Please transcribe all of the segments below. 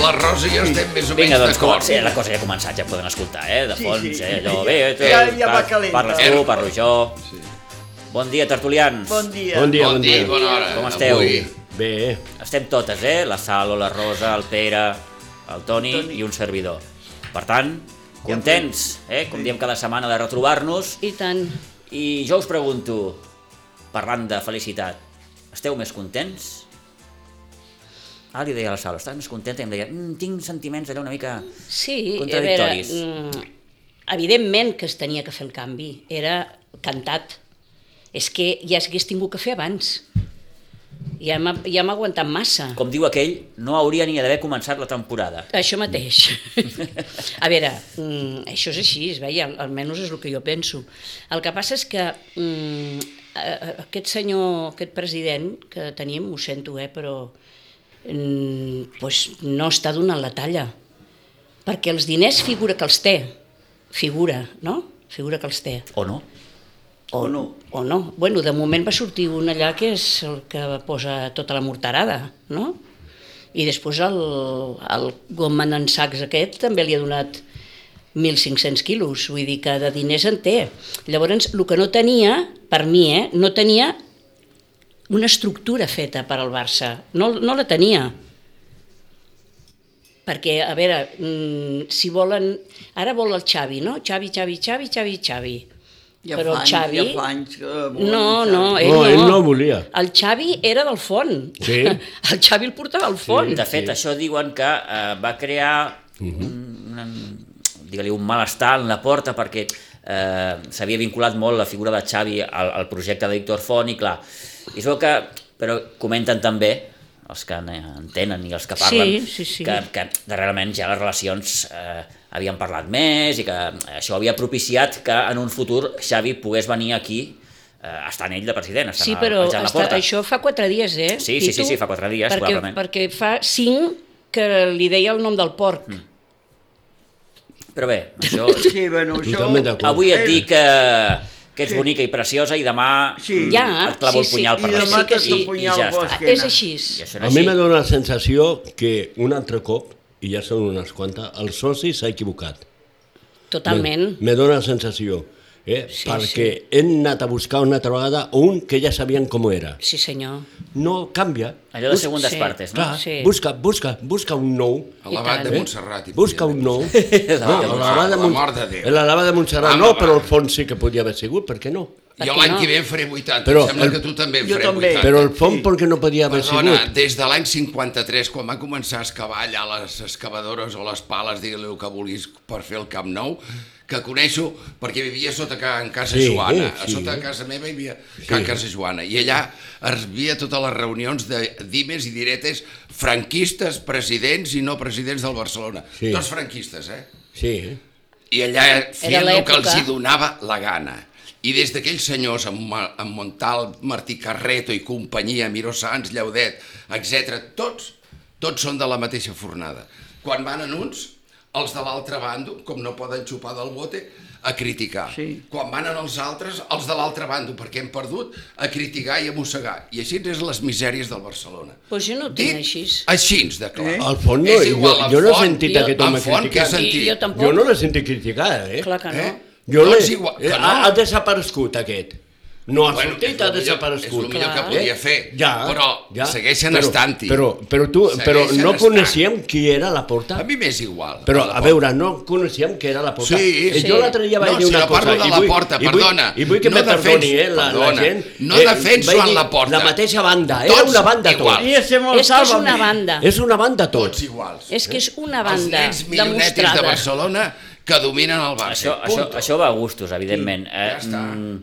La Rosa i jo estem més o menys Vinga, doncs d'acord. comença, la cosa ja ha començat, ja podem escoltar, eh, de Sí, fons, sí. eh, allò, bé, tu, Ja- ja va par- calenta. parles tu, Erro. parlo jo. Sí. Bon dia, tertulians. Bon dia. Bon dia, Bon dia, i bona hora. Com esteu? Avui. Bé, Estem totes, eh, la Salo, la Rosa, el Pere, el Toni, Toni. i un servidor. Per tant, contents, eh, com diem cada setmana de retrobar-nos. I tant. I jo us pregunto, parlant de felicitat, esteu més contents? Ah, li deia a la Salo, estàs més contenta? I em deia, mm, tinc sentiments allò una mica... Sí, a veure, Contradictoris. mm, evidentment que es tenia que fer el canvi. Era cantat. És que ja s'hagués tingut que fer abans. Ja m'ha ja m'ha aguantat massa. Com diu aquell, no hauria ni d'haver començat la temporada. Això mateix. a veure, mm, això és així, es veia, al- almenys és el que jo penso. El que passa és que mm, a- a- aquest senyor, aquest president que tenim, ho sento, eh, però mm, pues no està donant la talla. Perquè els diners figura que els té. Figura, no? Figura que els té. O no? O no. O no. Bueno, de moment va sortir un allà que és el que posa tota la morterada, no? I després el, el Goldman en Sachs aquest també li ha donat 1.500 quilos, vull dir que de diners en té. Llavors, el que no tenia, per mi, eh, no tenia una estructura feta per al Barça. No, no la tenia. Perquè, a veure, mm, si volen... Ara vol el Xavi, no? Xavi, Xavi, Xavi, Xavi, Xavi. Ja Però fa el anys- Xavi... Ja fa anys que... volen No, el no, Xavi. ell No, no. Oh, ell no volia. El Xavi era del font. Sí. El Xavi el portava al font. De fet, això diuen que eh, va crear un, un, digue-li, un malestar en la porta perquè eh, s'havia vinculat molt la figura de Xavi al, al projecte de Víctor Font i clar, i es veu que, però comenten també els que en- entenen i els que parlen, Sí, sí, sí. que que darrerament ja les relacions eh, havien parlat més i que això havia propiciat que en un futur Xavi pogués venir aquí eh, estant ell de president, estant, Sí, a- però alçant la està, porta. això fa quatre dies, eh? Sí, sí, sí, sí, fa quatre dies, perquè, probablement. Perquè fa cinc que li deia el nom del porc. Mm. Però bé, això... Sí, bueno, això... Totalment d'acord. Avui et Eh, dic que, que ets bonica i preciosa i demà Sí. Ja, et clavo sí, el punyal sí. per I la demà sí, que t'has sí, de i punyar ja el està. bosc. És així. I això no a mi és m'ha així. donat la sensació que un altre cop, i ja són unes quantes, el soci s'ha equivocat. Totalment. Me dóna la sensació. Eh? Sí, Perquè hem anat a buscar una altra vegada un que ja sabien com era. Sí, senyor. No canvia. Allò de Bus- segundes sí. partes, no? Clar, Sí. busca, busca, busca un nou. A l'abat de tant. Montserrat. hi Eh? Busca podria un haver. nou. la a mort- de la Mont- mort de Déu. a l'alaba de Montserrat Amb no, la- però el fons sí que podia haver sigut, per què no? Jo Perquè l'any no. que ve en faré 80. Però Però, em sembla el- que tu també en Jo faré també. 80. Però el fons Sí. per què no podia haver Perdona, sigut? des de l'any 53, quan van començar a excavar allà les excavadores o les pales, digue-li el que vulguis, per fer el Camp Nou, que coneixo perquè vivia sota ca, en casa Sí, Joana. Sí. sí. eh. Sota casa meva hi havia Can Casa Joana. I allà es havia totes les reunions de dimes i diretes franquistes, presidents i no presidents del Barcelona. Sí. Sí. Tots franquistes, eh? Sí, eh? i allà feien el que els l'època. hi donava la gana. I des d'aquells senyors, amb, Ma- amb Montal, Martí Carreto i companyia, Miró Sans, Lleudet, etc., tots, tots són de la mateixa fornada. Quan van en uns, els de l'altre bando, com no poden xupar del bote, a criticar. Sí. Quan van en els altres, els de l'altre bando, perquè hem perdut, a criticar i a mossegar. I així és les misèries del Barcelona. Pues jo no ho tinc així. Així, de clar. Eh? El font no, És jo, igual, el jo no he font, sentit jo- aquest el home font que criticar. he sentit. I jo tampoc. Jo no l'he sentit criticar, eh? Clar que Ah, no. Eh? Jo Doncs l'he- igual, que eh, no. ha, ha desaparegut aquest. No ha Bueno, és sortit, lo ha millor- desaparegut. Ah, eh? és lo millor que podia fer. Però segueixen però, estant-hi. Però, però, tu, però Segueixen no estant. coneixíem qui era la porta. A mi m'és igual. Però, la a veure, no coneixíem que era la porta. Sí, Eh, sí. Jo l'altre dia vaig No, dir si una no cosa. parlo de i la vull- porta, i vull- perdona. I vull que No me defenso- perdoni, eh, la, perdona. la gent. No eh, defenso vaig en dir la porta. La mateixa banda, Tots era una banda igual. tot. I ese molt És que és salva una mi. banda. És una banda tot. Tots iguals. És que és una Els banda nens milionetis de demostrada. Barcelona que dominen el Barça. Això, això, Punto. això va a gustos, evidentment. Eh, Ja està. mm,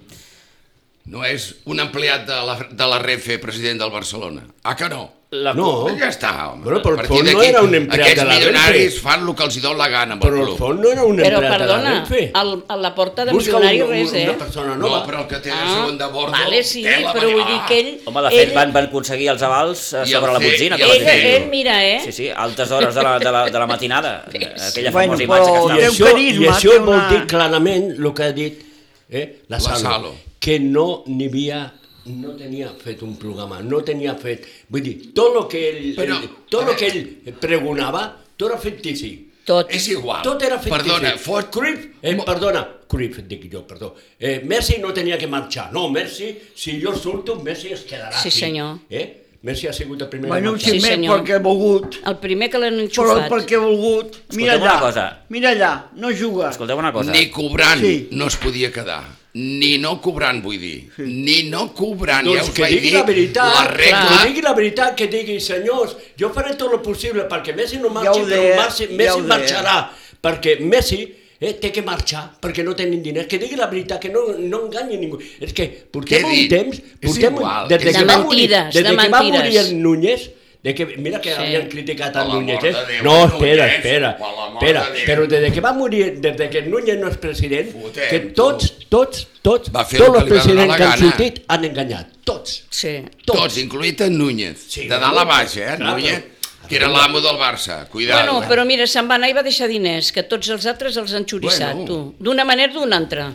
No és un empleat de la, de la Renfe president del Barcelona. Ah, que no? La, No. Ja està, home. Bueno, però A partir Font no d'aquí, era un empleat aquests de la Renfe. milionaris fan el que els hi dona la gana amb Però el el club. fons no era un Però empleat de la perdona, Renfe. al, a la porta de Busca milionari un- res, eh? una persona No, nova. però el que té de Ah, segon de bordo... Vale, sí, tela, però vull dir que ell... Home, de fet, ell, van, van aconseguir els avals eh, I sobre el la fer- botzina. i que el van ell, fer. fer. ell, mira, eh? Sí, sí, altes hores de la, de la, de la matinada. Aquella Bueno, famosa però- imatge que I Té estava... un això, carisma, I això té vol una- dir clarament el que ha dit eh, la, La Salo, Salo. que no n'hi havia no tenia fet un programa, no tenia fet... Vull dir, tot el que ell, Però- ell, tot el que ell pregonava, tot era fictici. Tot. És igual. Tot era fictici. Perdona, fot... Cruyff, eh, perdona, Cruyff, dic jo, perdó. Eh, Messi no tenia que marxar. No, Messi, si jo surto, Messi es quedarà Sí, aquí. senyor. Eh? Messi ha sigut el primer Bueno, a un marxar. sí, ximet senyor. perquè ha volgut. El primer que l'han Però enxufat. perquè ha volgut. Mira Escolteu una allà. cosa. Mira allà, no juga. Escolteu una cosa. Ni cobrant Sí. no es podia quedar. Ni no cobrant, vull dir. Ni no cobrant. ja Doncs us que vaig digui dir la veritat, la regla... que digui la veritat, que digui, senyors, jo faré tot el possible perquè Messi no marxi, Ja ho però deia, Messi, ja Messi ho deia. marxarà, perquè Messi eh, té que marxar perquè no tenen diners, que digui la veritat, que no, no enganyi ningú. És que Què portem un dic? temps, És portem un, igual, des és de que va igual. morir, Mentides, des de de que va morir mentides. el Núñez, de que, mira que Sí. havien criticat Per el l'amor Núñez, de eh? Déu, No, el espera, Núñez, espera, per l'amor espera, de Déu. però des de que va morir, des de que el Núñez no és president, Fotem que tot. tots, tots, tots, Va fer el tots que els li va donar presidents la que han gana. sortit han enganyat, tots. Sí. Tots, tots incloït en Núñez, Sí, sí, de dalt a baix, eh? clar, però- Núñez, que era l'amo del Barça, eh. cuidado. Bueno, però mira, se'n va anar i va deixar diners, que tots els altres els han xurissat, Bueno. tu. D'una manera o d'una altra.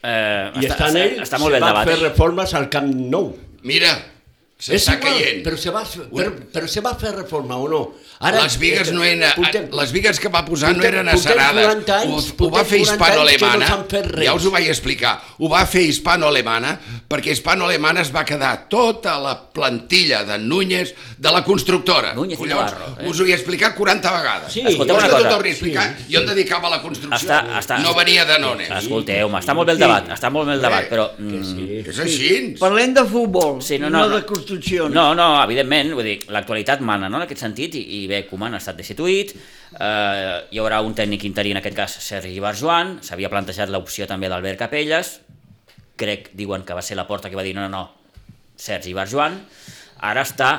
Eh, I està, en ell, està molt bé se el va fer debat. eh? reformes al Camp Nou. Mira, s'està caient. Però se, va, però, però se va fer reforma o no? eh, les vigues no eren, Portem- les vigues que va posar no portem- eren portem acerades. 40 anys, ho, ho va portem fer 40 anys que no hispano-alemana. s'han fet res. ja us ho vaig explicar. Ho va fer hispano-alemana perquè hispano-alemana es va quedar tota la plantilla de Núñez de la constructora. Núñez i Navarro, eh? us ho he explicat 40 vegades. Sí. Vols Escolteu una que t'ho cosa. torni a explicar? Jo em dedicava a la construcció. Està, està, no venia de Nones. Escolteu-me, està molt bé el debat, està molt bé el debat, però... mm, És així. Parlem de futbol, Sí, no, no, de no. construccions. No, no, evidentment, vull dir, l'actualitat mana, no?, en aquest sentit, i, i bé, Koeman ha estat destituït, eh, hi haurà un tècnic interí, en aquest cas Sergi Barjoan, s'havia plantejat l'opció també d'Albert Capelles, crec, diuen que va ser la porta que va dir no, no, no, Sergi Barjoan, ara està,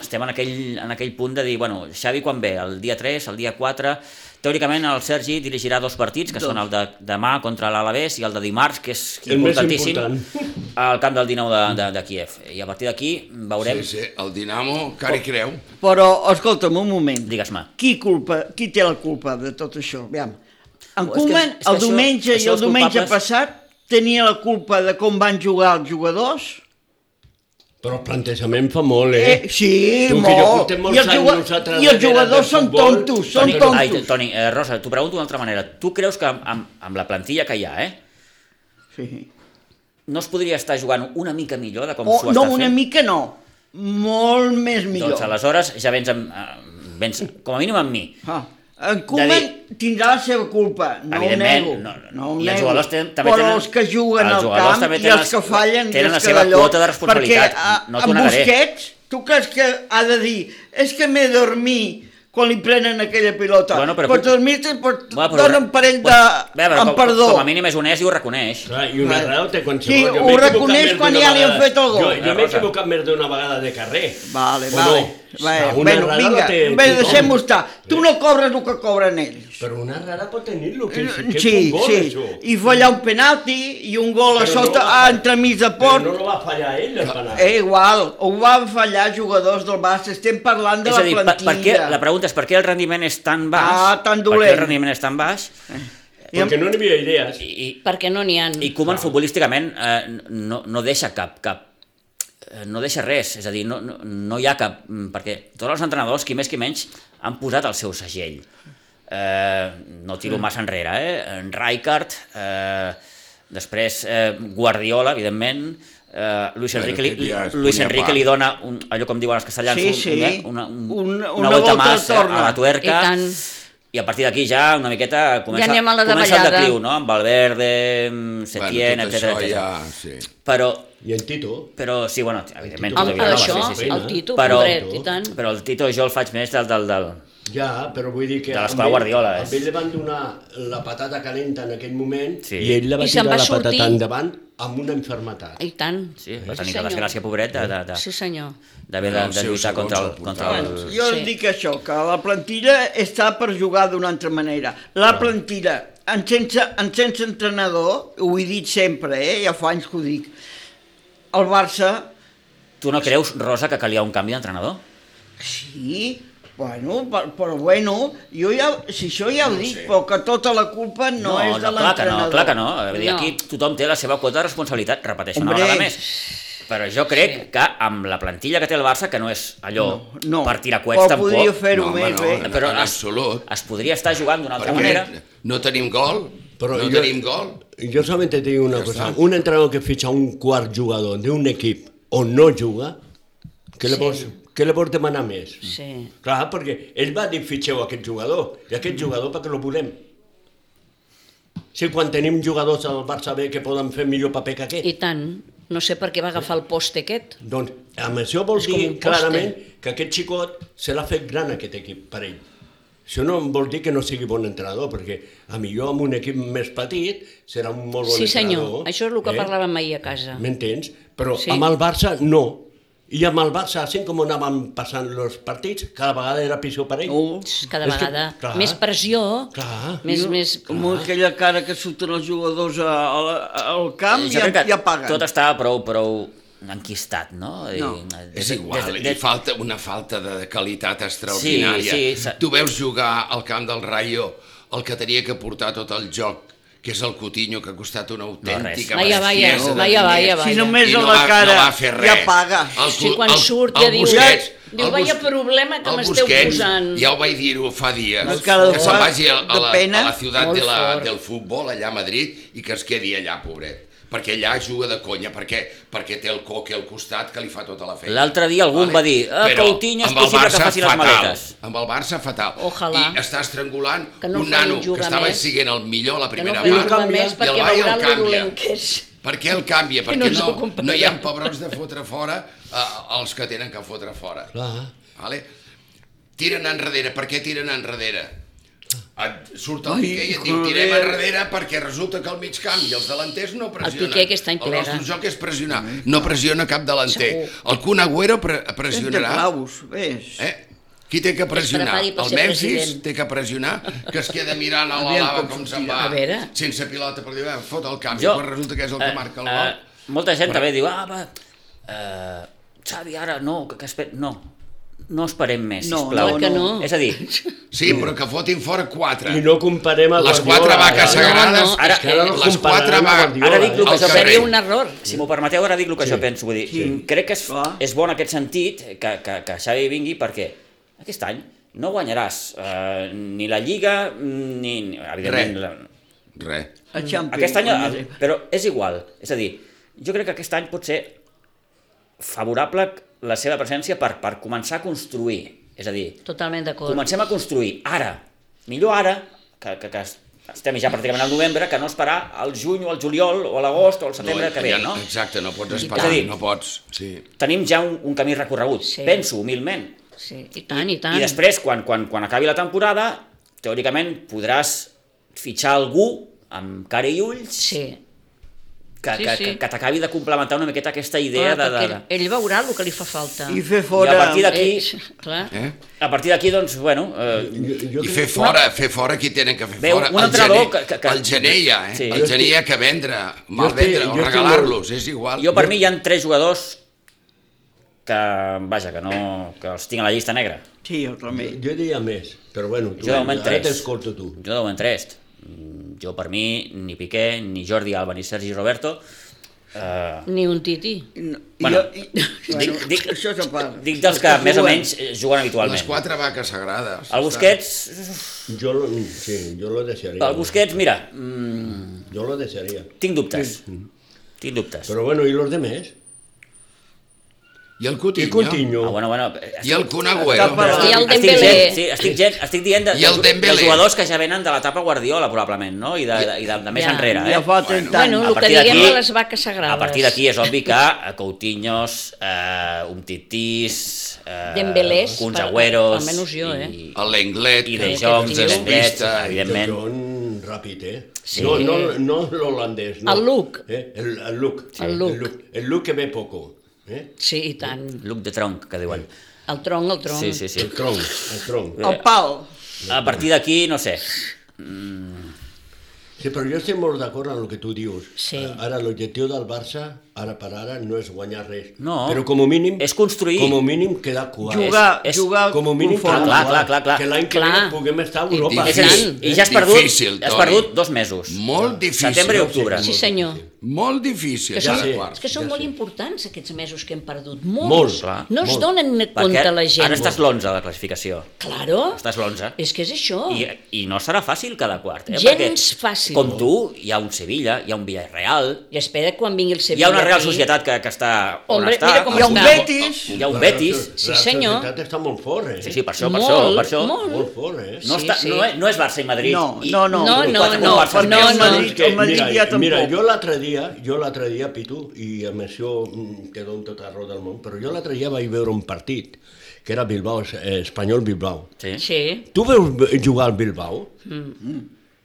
estem en aquell, en aquell punt de dir, bueno, Xavi quan ve? El dia 3, el dia 4... Teòricament el Sergi dirigirà dos partits, que són el de demà contra l'Alavés i el de dimarts, que és El més importantíssim, important. al camp del Dinamo de, de, de Kiev. I a partir d'aquí veurem... Sí, sí, el Dinamo, cara i creu. Però, escolta'm, un moment. Digues-me. Qui, culpa, qui té la culpa de tot això? Aviam. En Oh, és que- Koeman, és que el això- diumenge això i el els diumenge culpables- passat, tenia la culpa de com van jugar els jugadors? Però el plantejament fa molt, eh? Eh, sí, Tu, que jo molt. portem molts I els, anys juga- nosaltres i els darrere del jugadors són futbol. tontos, són Toni, ai, tontos. Toni, eh, Rosa, t'ho pregunto d'una altra manera. Tu creus que amb, amb, amb la plantilla que hi ha, eh, Sí. no es podria estar jugant una mica millor de com O, s'ho Oh, no, està fent? una mica no. Molt més millor. Doncs aleshores ja vens, amb, eh, vens com a mínim amb mi. Ah. En Koeman tindrà la seva culpa, no ho Evidentment, nego. no, no. ho I els nego. jugadors ten- també Però tenen- els que juguen els al jugadors camp també i tenen els que les- fallen... i tenen els la que seva d'allò, quota de responsabilitat, Perquè ah, a, no t'ho amb negaré. Busquets, tu creus que ha de dir és que m'he dormit quan li prenen aquella pilota. Bueno, però- Pots dormir-te, pots... Va, però- dona un parell de... Bueno, bé, però amb com, perdó. Com a mínim és honest i ho reconeix. Clar, I una Clar. raó té eh, qualsevol. Sí, Jo ho m'he equivocat reconeix més quan d'una ja li han vegada. fet el gol. Jo, jo m'he Rosa. equivocat més d'una vegada de carrer. Vale, O vale. No? vale. Una Bueno, errada vinga, té bé, tothom. deixem-ho estar. Tu no cobres el que cobren ells. Però una errada pot tenir-lo, que, és- que és Eh, Sí, un gol, sí. això. I fallar un penalti i un gol a Però no sota, la fa- ah, entre mig de Però port. no el va fallar ell, el penal. Eh, igual, ho van fallar jugadors del Barça, estem parlant de és la a dir, per, plantilla. per què, la pregunta és per què el rendiment és tan baix? Ah, tan Per què dolent. el rendiment és tan baix? Perquè no n'hi havia idees. I, i, Perquè no n'hi ha. i Koeman futbolísticament eh, no, no deixa cap, cap eh, no deixa res, és a dir, no, no, no hi ha cap... mm, Perquè tots els entrenadors, qui més qui menys, han posat el seu segell. Eh, no tiro massa enrere, eh? En Rijkaard, eh, Després, eh, Guardiola, evidentment, eh, Luis Bueno, Enrique, aquest li, ja es Luis ponia Enrique part. li dona, un, allò com diuen els castellans, Sí, un- sí. una, un, Un- una, una volta volta más a torna. la tuerca. I tant. I a partir d'aquí ja una miqueta comença, anem a la comença el davallada. decliu, no? Amb Valverde, amb Setién, tot bueno, això etc. ja... Ja... Sí. Però, I en Tito... però sí, bueno, evidentment, tota Tito Tito Vilanova, Vilanova, El, sí, això, sí, sí. el Tito, Però- però, pobret, i tant. Però el Tito jo el faig més del... del, del... Ja, però vull dir que... De l'escola a ell- Guardiola, a és. ell li van donar la patata calenta en aquell moment Sí. i ell la va I se'n tirar va la sortir. patata endavant amb una enfermetat. I tant. Sí, va tenir Sí, sí, la senyor. desgràcia, pobret, de- de- Sí, de- senyor. d'haver de, Era el de, seu lluitar segons contra el... al portal. Contra el... Bueno, Jo Sí. sí. dic això, que la plantilla està per jugar d'una altra manera. Ah. La plantilla, en sense, en sense entrenador, ho he dit sempre, eh? ja fa anys que ho dic, el Barça, Tu no creus, Rosa, que calia un canvi d'entrenador? sí, bueno, però, però bueno, jo ja, si això ja ho No ho dic, sé. però que tota la culpa no, és de clar que no, l'entrenador. clar que no. Vull dir, No. Aquí tothom té la seva quota de responsabilitat, repeteixo una Hombre. vegada més. Però jo crec sí. que amb la plantilla que té el Barça, que no és allò no. per tirar coets o tampoc, podria fer-ho No, home, més no, bé. no. però En es, absolut. es podria estar jugant d'una altra Perquè manera. no tenim gol, però no jo- tenim gol. Jo solament et dic una Ja cosa. està. Un entrenador que fitxa un quart jugador d'un equip on no juga, què li, vols, què li vols demanar més? Sí. Clar, perquè ell va dir fitxeu aquest jugador, i aquest jugador perquè lo volem. Si quan tenim jugadors al Barça B que poden fer millor paper que aquest. I tant. No sé per què va agafar el poste aquest. Doncs amb això vols És com dir un pòster. clarament que aquest xicot se l'ha fet gran aquest equip per ell. Això no vol dir que no sigui bon entrenador, perquè a millor amb un equip més petit serà un molt bon Sí, senyor. entrenador. eh? Això és el que parlàvem ahir a casa. M'entens? Però Sí. sí. amb el Barça no. I amb el Barça, així com anaven passant els partits, cada vegada era pitjor per ell. Oh, Cada És que, vegada. clar. Més pressió, Clar. més, Jo- més... Com aquella cara que surten els jugadors a, a, la- al camp i, Eh, Jo crec que i apaguen. Tot estava prou, prou enquistat, no? I, No, des- És igual, des- i des- falta una falta de qualitat extraordinària. Sí, sí, s'ha- tu veus jugar al camp del Rayo el que tenia que portar tot el joc, que és el Coutinho, que ha costat una autèntica Vaya, vaya, bestiesa de vaya, diners. vaya, vaya. Si només I a la va- cara no va fer res. ja paga. Ah, El, Sí, cu- quan el, surt el ja diu, Busquets, diu, el "Vaya Bus- problema que el m'esteu Busquets, posant". Ja ho vaig dir-ho fa dies, Una cara de que se'n fort, vagi a, a, de la, pena. a la ciutat Molt de la, fort. del futbol, allà a Madrid, i que es quedi allà, pobret perquè allà juga de conya, perquè, perquè té el coque al costat que li fa tota la feina. L'altre dia algú em va dir, "Ah, Però Coutinho, és amb el possible que Barça, faci les fatal. maletes." Amb el Barça, fatal. Ojalà. I està estrangulant Que no un faci nano que jugar estava més. siguent el millor a la Que no primera faci part, jugar i més el perquè Bayern veurà canvia. lo dolent que és. Per què el canvia? no Perquè ens no, ho comparem. no hi ha pebrots de fotre fora eh, els que tenen que fotre fora. Clar. Vale? Tiren enrere. Per què tiren enrere? Et surt el Piqué i et diu tirem joder. enrere perquè resulta que el mig camp i els delanters no pressionen. Piqué aquest any El nostre plega. Mm. joc és pressionar. No pressiona cap delanter. Segur. El Kun Agüero pre És de pressionarà. clavos, ves. Eh? Qui té que pressionar? prepari per El ser Memphis president. té que pressionar, que es queda mirant a la Aviam lava com com se'n sortirà. va, A veure. sense pilota, per dir, "Va, fot el canvi, Jo- quan resulta que és el que eh, marca el eh, gol. molta gent també diu, ah, va, eh, Xavi, ara no, que, que esper... No, no esperem més, No, sisplau. no, que no. És a dir, Sí, però que fotin fora quatre. I no eh? comparem a Les quatre vaques no, sagrades, no, ara, és que ara no les compararan quatre amb vaques... Guardiola, Ara dic el que al jo carrer. Seria un error. si m'ho permeteu, ara dic el que Sí. jo penso. Vull dir, sí. Sí. crec que és, Clar. és bo en aquest sentit que, que, que Xavi vingui perquè aquest any no guanyaràs eh, ni la Lliga ni, ni evidentment, Res. la, Re. A Champions. aquest any, doncs eh? guanyaré. però és igual. És a dir, jo crec que aquest any pot ser favorable la seva presència per, per començar a construir. És a dir, Totalment d'acord. comencem a construir ara, millor ara, que, que, que es- estem ja pràcticament al novembre, que no esperar al juny o al juliol o a l'agost o al setembre que ve, ja- no? Exacte, no pots És a esperar, dir- no pots. Sí. Tenim ja un, un camí recorregut, Sí. penso, humilment. Sí, i tant, i tant. I després, quan, quan, quan acabi la temporada, teòricament podràs fitxar algú amb cara i ulls Sí. que, Sí, que, sí. que, que t'acabi de complementar una miqueta aquesta idea Clar, de... de, perquè de... ell veurà el que li fa falta. I fer fora... I a partir de- D'aquí- Ells, clar. Eh? A partir d'aquí, doncs, bueno, eh, Jo, I jo crec- fer fora, fer fora qui tenen que fer Veu, fora. un El entrenador gener- que- que- El gener ja, eh? Sí. El gener hi ha que vendre, mal estic- vendre, o jo estic regalar-los, és igual. jo per mi hi han tres jugadors que, vaja, que no... que els tinc a la llista negra. Sí, jo també. Jo diria més, però bueno, tu, Jo de moment ara tres. t'escolto tu. Jo de moment tres. Mm, Jo per mi, ni Piqué, ni Jordi Alba, ni Sergi Roberto Eh, Ni un titi. No, Bueno, jo, i, bueno dic- dic- això és a part. dic dels que més o menys eh, juguen Les habitualment. quatre vaques sagrades. El Busquets, Jo, lo- sí, jo lo deixaria. el Busquets, mira, mm, Jo lo deixaria. tinc dubtes. Tinc dubtes. Però bueno, i los demés? I el I Coutinho. Coutinho. Ah, bueno, bueno, I el Kun Cap a Agüero. la- I el estic Dembélé. dient, sí, estic, gent, estic dient de, I el de, de Dembélé. jugadors que ja venen de l'etapa Guardiola, probablement, no? I de, de, i de, de més Ja. enrere, eh? Ja fa 30 Bueno, anys. A el que partir diguem d'aquí- de les vaques sagrades. A partir d'aquí és obvi que eh, Coutinhos, eh, Umtitís, eh, Dembélés, Kuns per- Agüeros... almenys jo, eh? I, L'Englet, I que de és Jong, un de despista, Dembélé, evidentment. John ràpid, eh? Sí. No, no, no l'holandès, no. El look. Eh? El, el look. El look. El look, el look que ve poco. Eh? Sí, i tant. Luc de tronc, que diuen. El tronc, el tronc. Sí, Eh, sí, sí. El tronc, el tronc. El pal. A partir d'aquí, no sé. Sí, però jo estic molt d'acord amb el que tu dius. Eh, Sí. Ara, l'objectiu del Barça, ara per ara, no és guanyar res. No. Però com a mínim... És construir. Com a mínim quedar quart. Jugar, és- jugar Com a mínim Clar, quedar Ah, clar, quart. clar, clar. Que l'any que Clar. ve puguem estar a Europa. I- És a dir, tant. i ja has perdut, eh? Difícil, has Toni. perdut dos mesos. Molt difícil. Setembre i octubre. Sí, senyor. Molt difícil. Que Ja són, sé. quart. és que són ja molt sé. importants aquests mesos que hem perdut. Molt, Molts. clar, no es molt. donen compte la gent. ara estàs l'11 de la classificació. Claro. Estàs l'11. És que és això. I, I no serà fàcil cada quart, eh? Oh. Gens fàcil. Com tu, hi ha un Sevilla, hi ha un Villarreal, I espera quan vingui el hi Sevilla. ha una Real aquí. Societat que, que està on Hombre, està. mira com Hi ha un està. Betis. Hi ha un Betis. Sí, la senyor. La societat està molt fort, eh? Sí, sí, per això, per Molt, això, per això. molt. Molt fort, eh? No, Sí, està, sí. no, és- no és Barça i Madrid. No, i- no, no. No, i no, quatre no, comparses no, més. no. És que, El Madrid mira, ja tampoc. Mira, jo l'altre dia, jo l'altre dia, Pitu, i amb això mm, que dono tot arreu del món, però jo l'altre dia vaig veure un partit, que era Bilbao, eh, Espanyol-Bilbao. Sí. Sí. Tu veus b- jugar al Bilbao? Mm.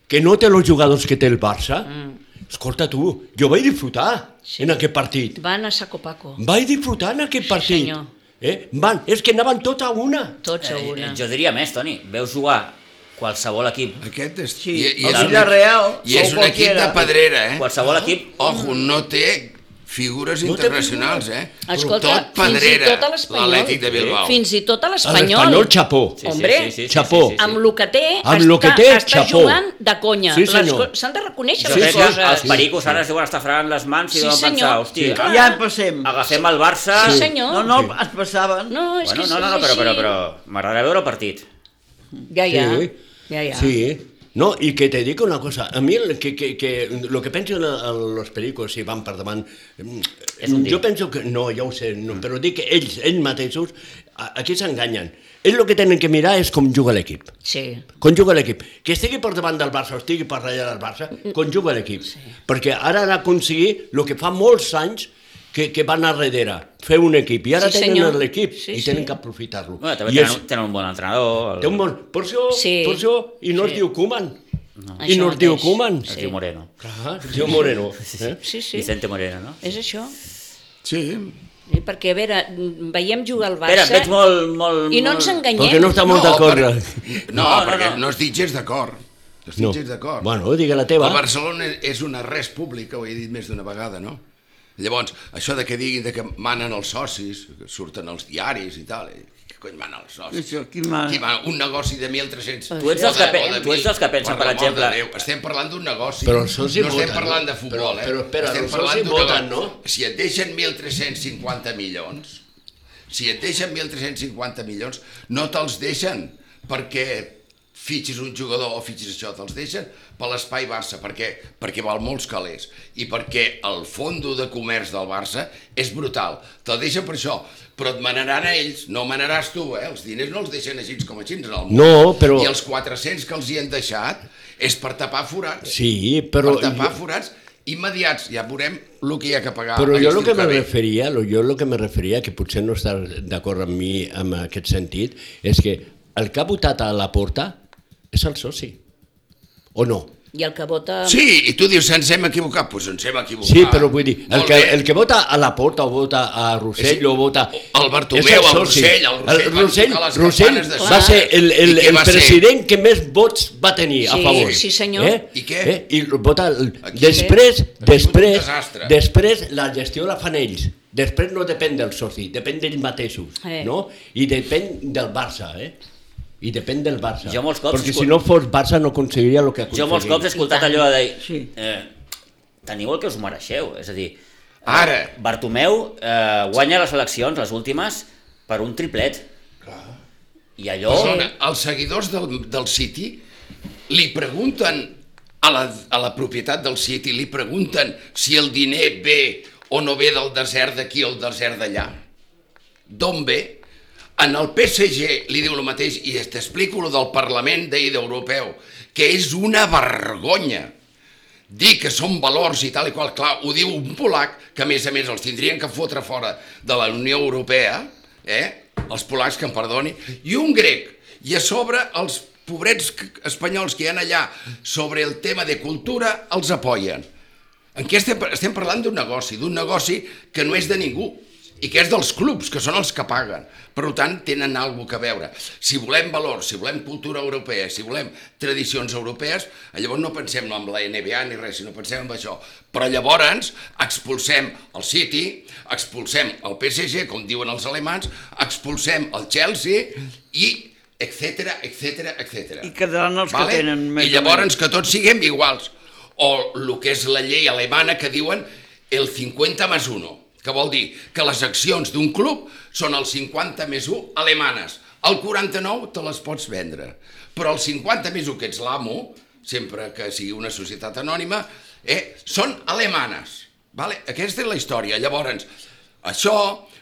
Que no té els jugadors que té el Barça? Mm. Escolta tu, jo vaig disfrutar Sí. sí. en aquest partit. Van a saco paco. Vaig disfrutar en aquest Sí, partit. senyor. Eh? Van, és que anaven tot a una. Tots a una. Eh, Jo diria més, Toni. Veus jugar qualsevol equip, Aquest és... Sí, I, i el és, un, Villarreal, i és o un equip qualquiera. de pedrera, eh? qualsevol equip Ojo, no té figures No té internacionals, eh? Escolta, tot pedrera, fins i tot a l'Espanyol. l'Atlètic de Bilbao. Fins i tot a l'Espanyol. L'Espanyol, xapó. Sí, sí, Hombre, sí, sí, sí, Chapó. sí, sí, sí. Amb lo que té, Amb està, lo que té, està xapó. jugant de conya. Sí, Les senyor. co- S'han de reconèixer Jo Sí, crec les sí, que coses. els pericos ara es deuen estar fregant les mans i Sí, deuen pensar, senyor. hòstia, Sí, clar. Ja en passem. agafem el Barça... Sí, senyor. No, no, es passaven. No, és Bueno, que no, no, no, és però, però, així. però m'agradaria veure el partit. Ja, ja. Sí. Ja, ja. Sí. No, i que te dic una cosa, a mi el que, que, que lo que penso en, en los pericos si van per davant, mm, És un dir. jo penso que, no, ja ho sé, Mm. no, però dic que ells, ells mateixos, a- aquí s'enganyen. Ells el que tenen que mirar és com juga l'equip. Sí. Conjuga l'equip. Que estigui per davant del Barça o estigui per darrere del Barça, Mm, conjuga l'equip. Sí. Perquè ara han aconseguit el que fa molts anys que, que van a darrere, fer un equip. I ara Sí, sí, tenen senyor. l'equip Sí, i sí. tenen que aprofitar-lo. Bueno, també I tenen, és, tenen un bon entrenador, té el, un bon... Per això, Sí. per això i no Sí. es diu Koeman. No. I Això no es diu mateix. Koeman. el Tio Moreno. Clar, es diu Moreno. Eh? Sí, sí. Vicente Moreno, no? És això. Sí, Eh, Perquè, a veure, mm, veiem jugar al Espera, Barça veig molt, molt... i no molt- ens enganyem. Perquè no No, està molt d'acord. per- no, No, no, perquè no. no estic gens d'acord. No estic gens d'acord. Bueno, digue la teva. El Barcelona és una res pública, ho he dit més d'una vegada, no? Llavors, això de que diguin de que manen els socis, que surten els diaris i tal, eh? què cony mana els socis? Això, qui mana? Qui mana? Un negoci de 1.300... Tu ets dels O de- que pe- o de tu ets dels que pensen, per l'amor de exemple- Déu, estem parlant d'un negoci. Però els socis no estem voten, parlant de no? futbol, Però- eh? però espera, estem els parlant socis d'un voten, negoci. no? Si et deixen 1.350 milions, si et deixen 1.350 milions, no te'ls deixen perquè fitxis un jugador o fitxis això, te'ls deixen per l'espai Barça, perquè, perquè val molts calés i perquè el fondo de comerç del Barça és brutal. Te'l deixen per això, però et manaran a ells, no manaràs tu, eh? Els diners no els deixen així com així en el món. No, però- I els 400 que els hi han deixat és per tapar forats. Sí, però... Per tapar forats immediats. Ja veurem el que hi ha que pagar. Però jo aquest el que estiu me ve. referia, lo, jo el que me referia, que potser no estàs d'acord amb mi en aquest sentit, és que el que ha votat a la porta és el soci, o no? I el que vota... Sí, i tu dius, ens hem equivocat, doncs ens hem equivocat. Sí, però vull dir, el Molt que, bé. el que vota a la porta o vota a Rossell Sí. o vota... El Bartomeu, és el soci. Rossell, el Rossell El va Rossell, tocar les Rossell campanes de va Sants. ser el, el, I què el va ser? president que més vots va tenir a Sí, favor. sí, senyor. Eh? I què? Eh? I vota... El... Aquí- Després, un després, desastre. després la gestió la fan ells. Després no depèn del soci, depèn d'ells mateixos, Eh. no? I depèn del Barça, eh? I depèn del Barça. Jo molts cops- Perquè si no fos Barça no aconseguiria el que aconseguiria. Jo molts cops he escoltat allò de dir... Sí. Eh, teniu el que us mereixeu, és a dir... Eh, Ara. Bartomeu eh, guanya les eleccions, les últimes, per un triplet. I allò... Perdona, els seguidors del, del City li pregunten a la, a la propietat del City, li pregunten si el diner ve o no ve del desert d'aquí o el desert d'allà. D'on ve? En el PSG li diu el mateix, i t'explico lo del Parlament d'ahir d'Europeu, que és una vergonya dir que són valors i tal i qual, clar, ho diu un polac, que a més a més els tindrien que fotre fora de la Unió Europea, eh? els polacs que em perdoni, i un grec, i a sobre els pobrets c- espanyols que hi ha allà sobre el tema de cultura els apoyen. En què estem, estem parlant d'un negoci, d'un negoci que no és de ningú i que és dels clubs, que són els que paguen. Per tant, tenen alguna cosa a veure. Si volem valors, si volem cultura europea, si volem tradicions europees, llavors no pensem en la NBA ni res, sinó pensem en això. Però llavors expulsem el City, expulsem el PSG, com diuen els alemans, expulsem el Chelsea i etcètera, etcètera, etcètera. I quedaran els Vale? que tenen més I o menys. llavors que tots siguem iguals. O el que és la llei alemana que diuen el 50 més 1, que vol dir que les accions d'un club són el 50 més 1 alemanes. El 49 te les pots vendre, però el 50 més 1, que ets l'amo, sempre que sigui una societat anònima, eh, són alemanes. Vale? Aquesta és la història. Llavors, això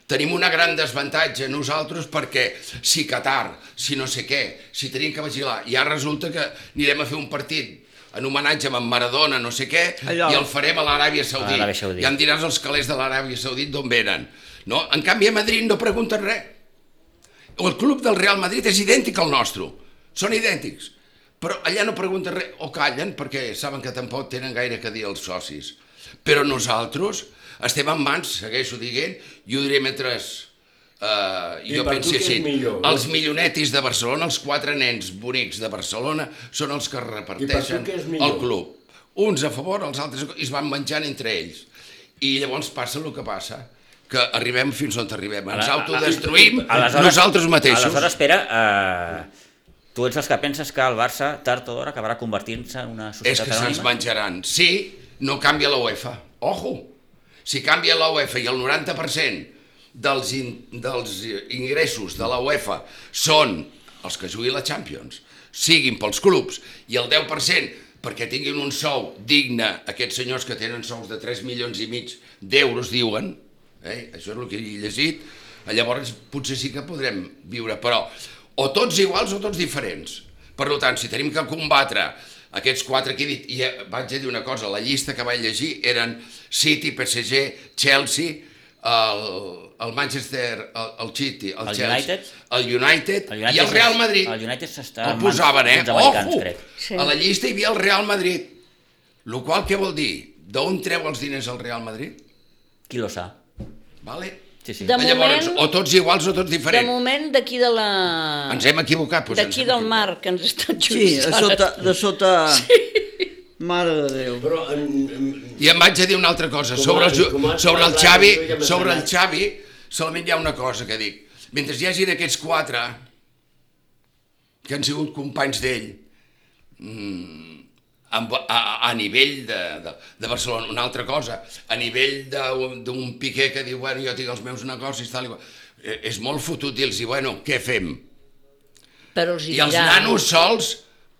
tenim una gran desavantatge nosaltres perquè si Qatar, si no sé què, si tenim que vigilar, i ara resulta que anirem a fer un partit en homenatge amb en Maradona, no sé què, Allò. i el farem a l'Aràbia A l'Aràbia Saudita. Saudita. I em diràs els calés de l'Aràbia Saudita d'on venen. No? En canvi, a Madrid no pregunten res. El club del Real Madrid és idèntic al nostre. Són idèntics. Però allà no pregunten res, o callen, perquè saben que tampoc tenen gaire que dir els socis. Però nosaltres estem en mans, segueixo dient, i ho diré mentre eh, I jo per tu pensi què és així. millor, no? Els milionetis de Barcelona, els quatre nens bonics de Barcelona, són els que reparteixen què és millor? el club. Uns a favor, els altres... I es van menjant entre ells. I llavors passa el que passa, que arribem fins on arribem. eh? Ens Ara- autodestruïm Aleshores- nosaltres mateixos. Aleshores, Pere, eh, tu ets dels que penses que el Barça, tard o d'hora, acabarà convertint-se en una És societat que se'ns anònima? menjaran. Sí, no canvia la UEFA. Ojo! Si canvia la UEFA i el 90% dels, in, dels ingressos de la UEFA són els que jugui la Champions, siguin pels clubs, i el 10% perquè tinguin un sou digne aquests senyors que tenen sous de 3 milions i mig d'euros, diuen, eh? això és el que he llegit, llavors potser sí que podrem viure, però o tots iguals o tots diferents. Per tant, si tenim que combatre aquests quatre que he dit, i eh, vaig a dir una cosa, la llista que vaig llegir eren City, PSG, Chelsea, el, el Manchester, el, el City, el, El Chelsea, United? el United, El United i el Real és- Madrid. el United s'està El en mans posaven, eh? d'uns americans, Ojo! crec. Sí. A la llista hi havia el Real Madrid. Lo qual què vol dir? D'on treu els diners el Real Madrid? Qui lo sap? Vale? Sí, sí. De Ah, Llavors, moment- o tots iguals o tots De diferents. moment, d'aquí de la... Ens hem equivocat. Doncs D'aquí del mar, que ens està Sí, de jutjant. sota... De sota... Sí. Mare de Déu. Però mm, en, en, I em vaig a dir una altra cosa. Com Sobre el, has- Ju- com has sobre el parlat, Xavi, jo ja m'he sobre el adonat. Xavi, solament hi ha una cosa que dic. Mentre hi hagin aquests quatre que han sigut companys d'ell, mm, amb, a, a nivell de, de, de Barcelona. Una altra cosa, a nivell de- d'un Piqué que diu, bueno, jo tinc els meus negocis, tal i qual. Eh, És molt fotut dir-los, bueno, què fem? Però els hi I els diran. nanos sols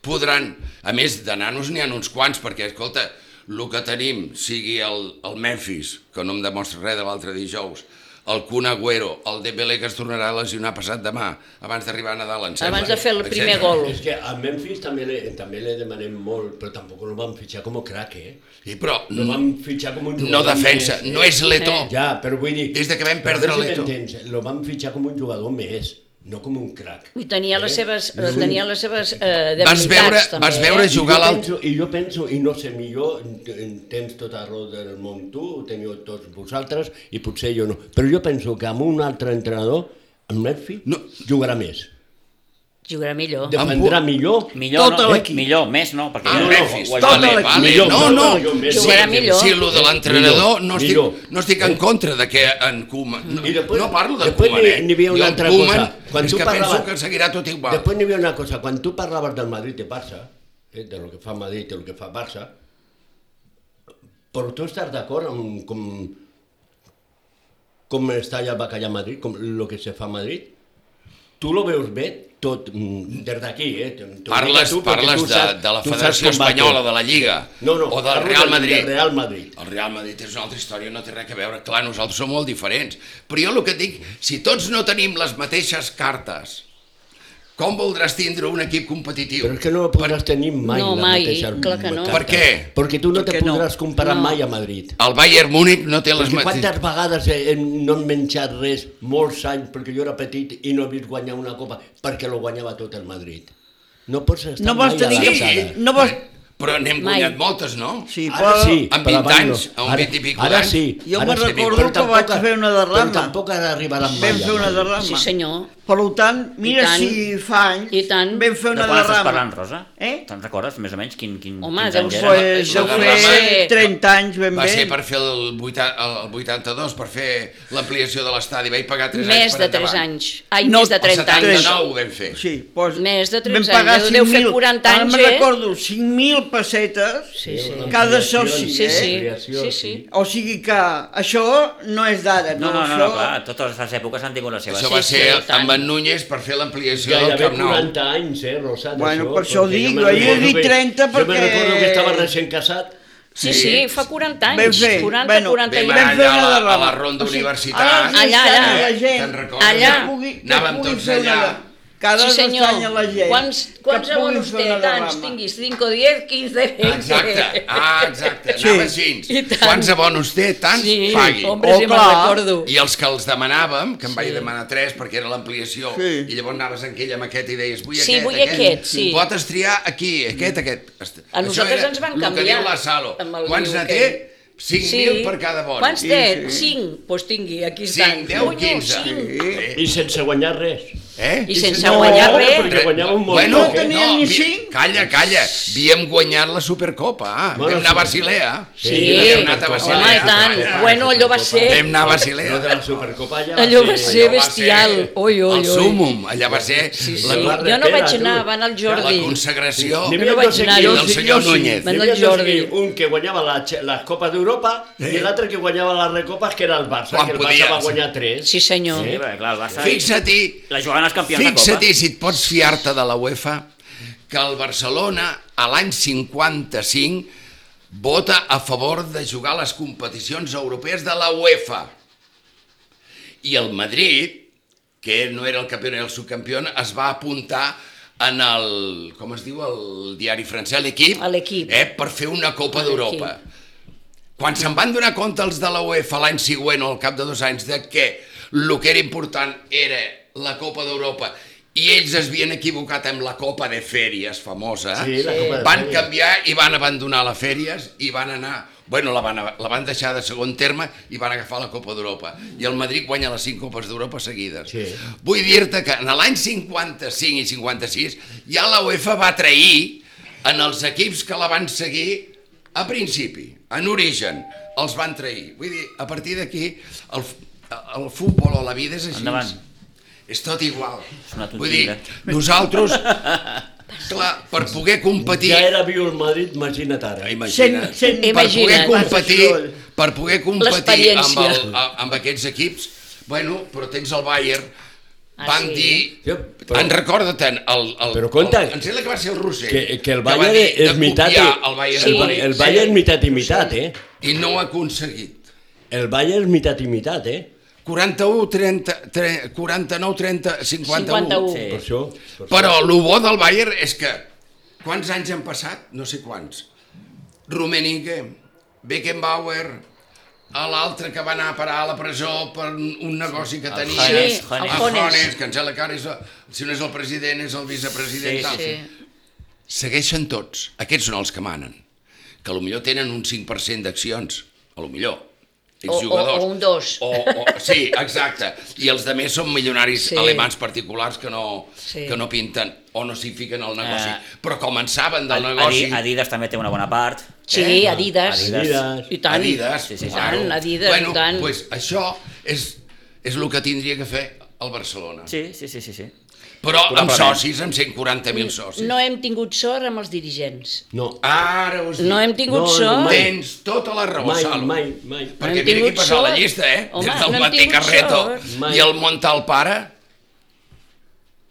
podran... A més, de nanos n'hi ha uns quants, perquè, escolta, el que tenim, sigui el, el Memphis, que no em demostra res de l'altre dijous, el Kun Agüero, el Dembélé que es tornarà a lesionar passat demà, abans d'arribar a Nadal, em sembla. Abans de fer el primer etcètera. gol. és que a Memphis també li, també li demanem molt, però tampoc no van fitxar com a crac, eh? Sí, però No no, van fitxar com un Mm. no jugador defensa, més, eh? no és letó. Ja, però vull dir... Des de que vam però perdre a veure si l'Eto. m'entens, Lo van fitxar com un jugador més, no com un crac. I tenia les Eh? seves, eh, Sí. tenia les seves eh, Vas debilitats, veure, també. vas veure I jo, jugar l'alt... penso, I jo penso, i no sé, millor en- tens tota raó del món tu, ho teniu tots vosaltres, i potser jo no. Però jo penso que amb un altre entrenador, amb Memphis, No. no. jugarà més. Jugarà millor. Defendrà millor. Millor, Tot no, eh, l'equip. millor, més no, perquè Ah, ja- no, Memphis, ho has Tota tot dit. l'equip. Vale, millor, no, tot no. l'equip, més. Jugarà sí, millor. Sí, lo de l'entrenador no, estic, Millor. no estic en contra de que en Koeman... No, I després- no parlo de després Koeman, n'hi- eh? n'hi havia una Jo en altra Koeman cosa. Quan és tu que penso parlaves- que seguirà tot igual. Després n'hi havia una cosa, quan tu parlaves del Madrid i Barça, eh, de lo que fa Madrid i el que fa Barça, però tu estàs d'acord amb com com està allà el bacallà a Madrid, com el que se fa a Madrid, tu lo veus bé tot, mm, des d'aquí, eh? T'ho dic a Parles, tu perquè parles tu de, saps- de la tu saps Federació com va Espanyola, tot. de la Lliga, No, no, o del parlo Real del- Madrid. del Real Madrid. El Real Madrid és una altra història, no té res a veure. Clar, nosaltres som molt diferents. Però jo el que et dic, si tots no tenim les mateixes cartes, com voldràs tindre un equip competitiu? Però és que no podràs tenir mai No, la mai, mateixa clar que no. carta. Per què? Perquè tu no te Perquè no. podràs comparar No. mai a Madrid. El Bayern Múnich no té les Perquè mateixes... quantes vegades he- hem, no hem menjat res, molts anys, perquè jo era petit i no he vist guanyar una copa, perquè lo guanyava tot el Madrid. No pots estar No mai vols a la tenir... alçada. No vols... Però n'hem eh, Mai. guanyat moltes, no? Sí, Ara però... sí, Amb però 20 abans anys, no. amb Ara- 20 i pico Ara d'anys. sí. Jo ara me'n sí, recordo però que tampoc vaig ha- fer una Però derrama. tampoc arribaran mai. Vam fer a una Madrid. derrama. Sí, senyor. Per tant, mira I tant. si fa anys I tant. vam fer de una quan estàs derrama. parlant, Rosa? Eh? Te'n recordes, més o menys, quin, quin, Home, quins Doncs deu anys ser- era? Pues, La deu derrama fer 30 anys ben Va bé. ser per fer el, 80, el 82, per fer l'ampliació de l'estadi. Vaig pagar 3 anys Més per de 3 endavant. anys. Ai, No, més de el 30 El anys. 79 ho vam fer. Sí, doncs Més de vam 13 pagar anys, deu fer 5.000. 40 Ara anys, me'n eh? recordo, 5.000 pessetes Sí, sí. cada soci, Sí, eh? sí. Ampliació, Sí, sí. O sigui que això no és d'ara, No, no, no, això... no, clar, totes les èpoques han tingut les seves. Això va sí, ser i tant. amb en Núñez per fer l'ampliació del Gairebé Camp Nou. 40 anys, eh, Rosa, Bueno, d'això, per això ho perquè dic, me'n jo he recordo dit que- 30 Jo me'n perquè- recordo que estava recent casat. Sí, sí, fa 40 Vam anys. fer, 40, bueno, 40 Vam i anar Vam fer allà a una la, a derrama. la ronda O sigui, universitat. ara Ah, Allà, s'està allà. Ah, la gent. Te'n recordes? Allà. Que pugui- que Anàvem pugui tots fer una- allà. Cada Sí, dos senyor. anys a la gent. Quants, que quants pugui abonos fer té? una Tants, derrama. tinguis 5, 10, 15, 20. Exacte, ah, exacte, anava Sí. així. I tant. Quants abonos té, tants Sí, pagui. hombre, Oh, si me'n clar. recordo. I els que els demanàvem, que em vaig demanar tres perquè era l'ampliació, Sí. i llavors anaves amb aquell amb aquest i deies, vull Sí, aquest, vull aquest, aquest, sí. Pots triar aquí, aquest, aquest. Est- A nosaltres era ens van el que canviar diu la Salo. amb el Quants viu ne té? aquell. 5.000 per cada bon. Quants Sí, té? sí. 5. Doncs pues tingui, aquí estan. 5, 10, Conyo, 15. cinc. I sense guanyar res. Eh? I sense No, guanyar res. perquè guanyàvem molt bueno, poc, eh? tenia ni vi- cinc. Calla, calla. Havíem guanyat la Supercopa. Ah, Bueno, vam anar a sí. Basilea. Sí, Hem anat a home, i Basilea. tant. Calla. Bueno, allò va ser... Vam anar a Allò de Basilea. la Supercopa ja Allò va ser Allò va bestial. ser Oi, oi, El oi. súmum, allà va ser Sí, la, jo no vaig anar, va anar la el Jordi. consagraració. Jo no vaig anar, jo sí, jo sí. Va anar el Jordi. Un que guanyava la, Che- les Copes d'Europa i l'altre que guanyava les Recopes, que era el Barça, Eh. Quan que el podies. Barça va guanyar 3. Sí, senyor. Sí, perquè, clar, el Barça... Fixa-t'hi, La jugant als campions de fixa-t'hi Copa. si et pots fiar-te de la UEFA, que el Barcelona a l'any 55 vota a favor de jugar les competicions europees de la UEFA. I el Madrid, que no era el campió ni el subcampió, es va apuntar en el, com es diu, el diari francès, l'equip, A l'Equip. eh, per fer una Copa A d'Europa. Quan se'n van donar compte els de la UEFA l'any següent o al cap de dos anys de que el que era important era la Copa d'Europa i ells es havien equivocat amb la Copa de Fèries famosa, Sí, la Copa de van Fèries. canviar i van abandonar la Fèries i van anar Bueno, la van, la van deixar de segon terme i van agafar la Copa d'Europa. I el Madrid guanya les cinc Copes d'Europa seguides. Sí. Vull dir-te que en l'any 55 i 56 ja la UEFA va trair en els equips que la van seguir a principi, en origen, els van trair. Vull dir, a partir d'aquí, el, f- el futbol o la vida és així. Endavant. És tot igual. una tonteria. Vull dir, nosaltres, clar, per poder competir... Ja era viu el Madrid, imagina't ara. Imagina't. Cent- cent- per poder Imagina't. competir, per poder competir amb, L'experiència. el, a- amb aquests equips, bueno, però tens el Bayern, Ah, van sí. dir... Jo- però- en recorda-te'n, el, el, Però compte, el, em sembla que va ser el Roser. Que, que el va Bayern dir de és mitat i... copiar El Bayern, el, de Madrid, Ba- el Bayern mitat i mitat, eh? I no ho ha aconseguit. El Bayern mitat i mitat, eh? 41, 30, 30, 49, 30, 51. 51. Sí. Per això... Per això. Però el bo del Bayern és que quants anys han passat? No sé quants. Rummenigge, Beckenbauer, a l'altre que va anar a parar a la presó per un un negoci que tenia. Jones, Sí, el Jones. el Jones. Jones, que ens sembla que ara és, el- si no és el president, és el vicepresident. Sí, tal. Sí. Segueixen tots. Aquests són els que manen. Que a lo millor tenen un 5% d'accions. A lo millor. Ells O- o- jugadors. o un dos. O, o, sí, exacte. I els de més són milionaris Sí. sí. alemans particulars que no, Sí. sí. que no pinten o no s'hi fiquen al negoci. Eh, Uh, Però començaven del negoci... Adi- Adidas també té una bona part. Sí, Eh? Adidas. Adidas. I tant. Adidas. Sí, sí, sí. tant, Adidas, bueno, i tant. Pues això és, és el que tindria que fer el Barcelona. Sí, sí, sí, sí. sí. Però amb Probablement. socis, amb 140.000 socis. No hem tingut sort amb els dirigents. No, Ara us dic. No hem tingut No, no, sort. mai. Tens tota la raó, mai, Salo. mai, mai. Perquè mira hem qui tingut passava la sort. llista, eh? Home, Des del no hem Matí tingut Carreto sort. i el Montal Pare.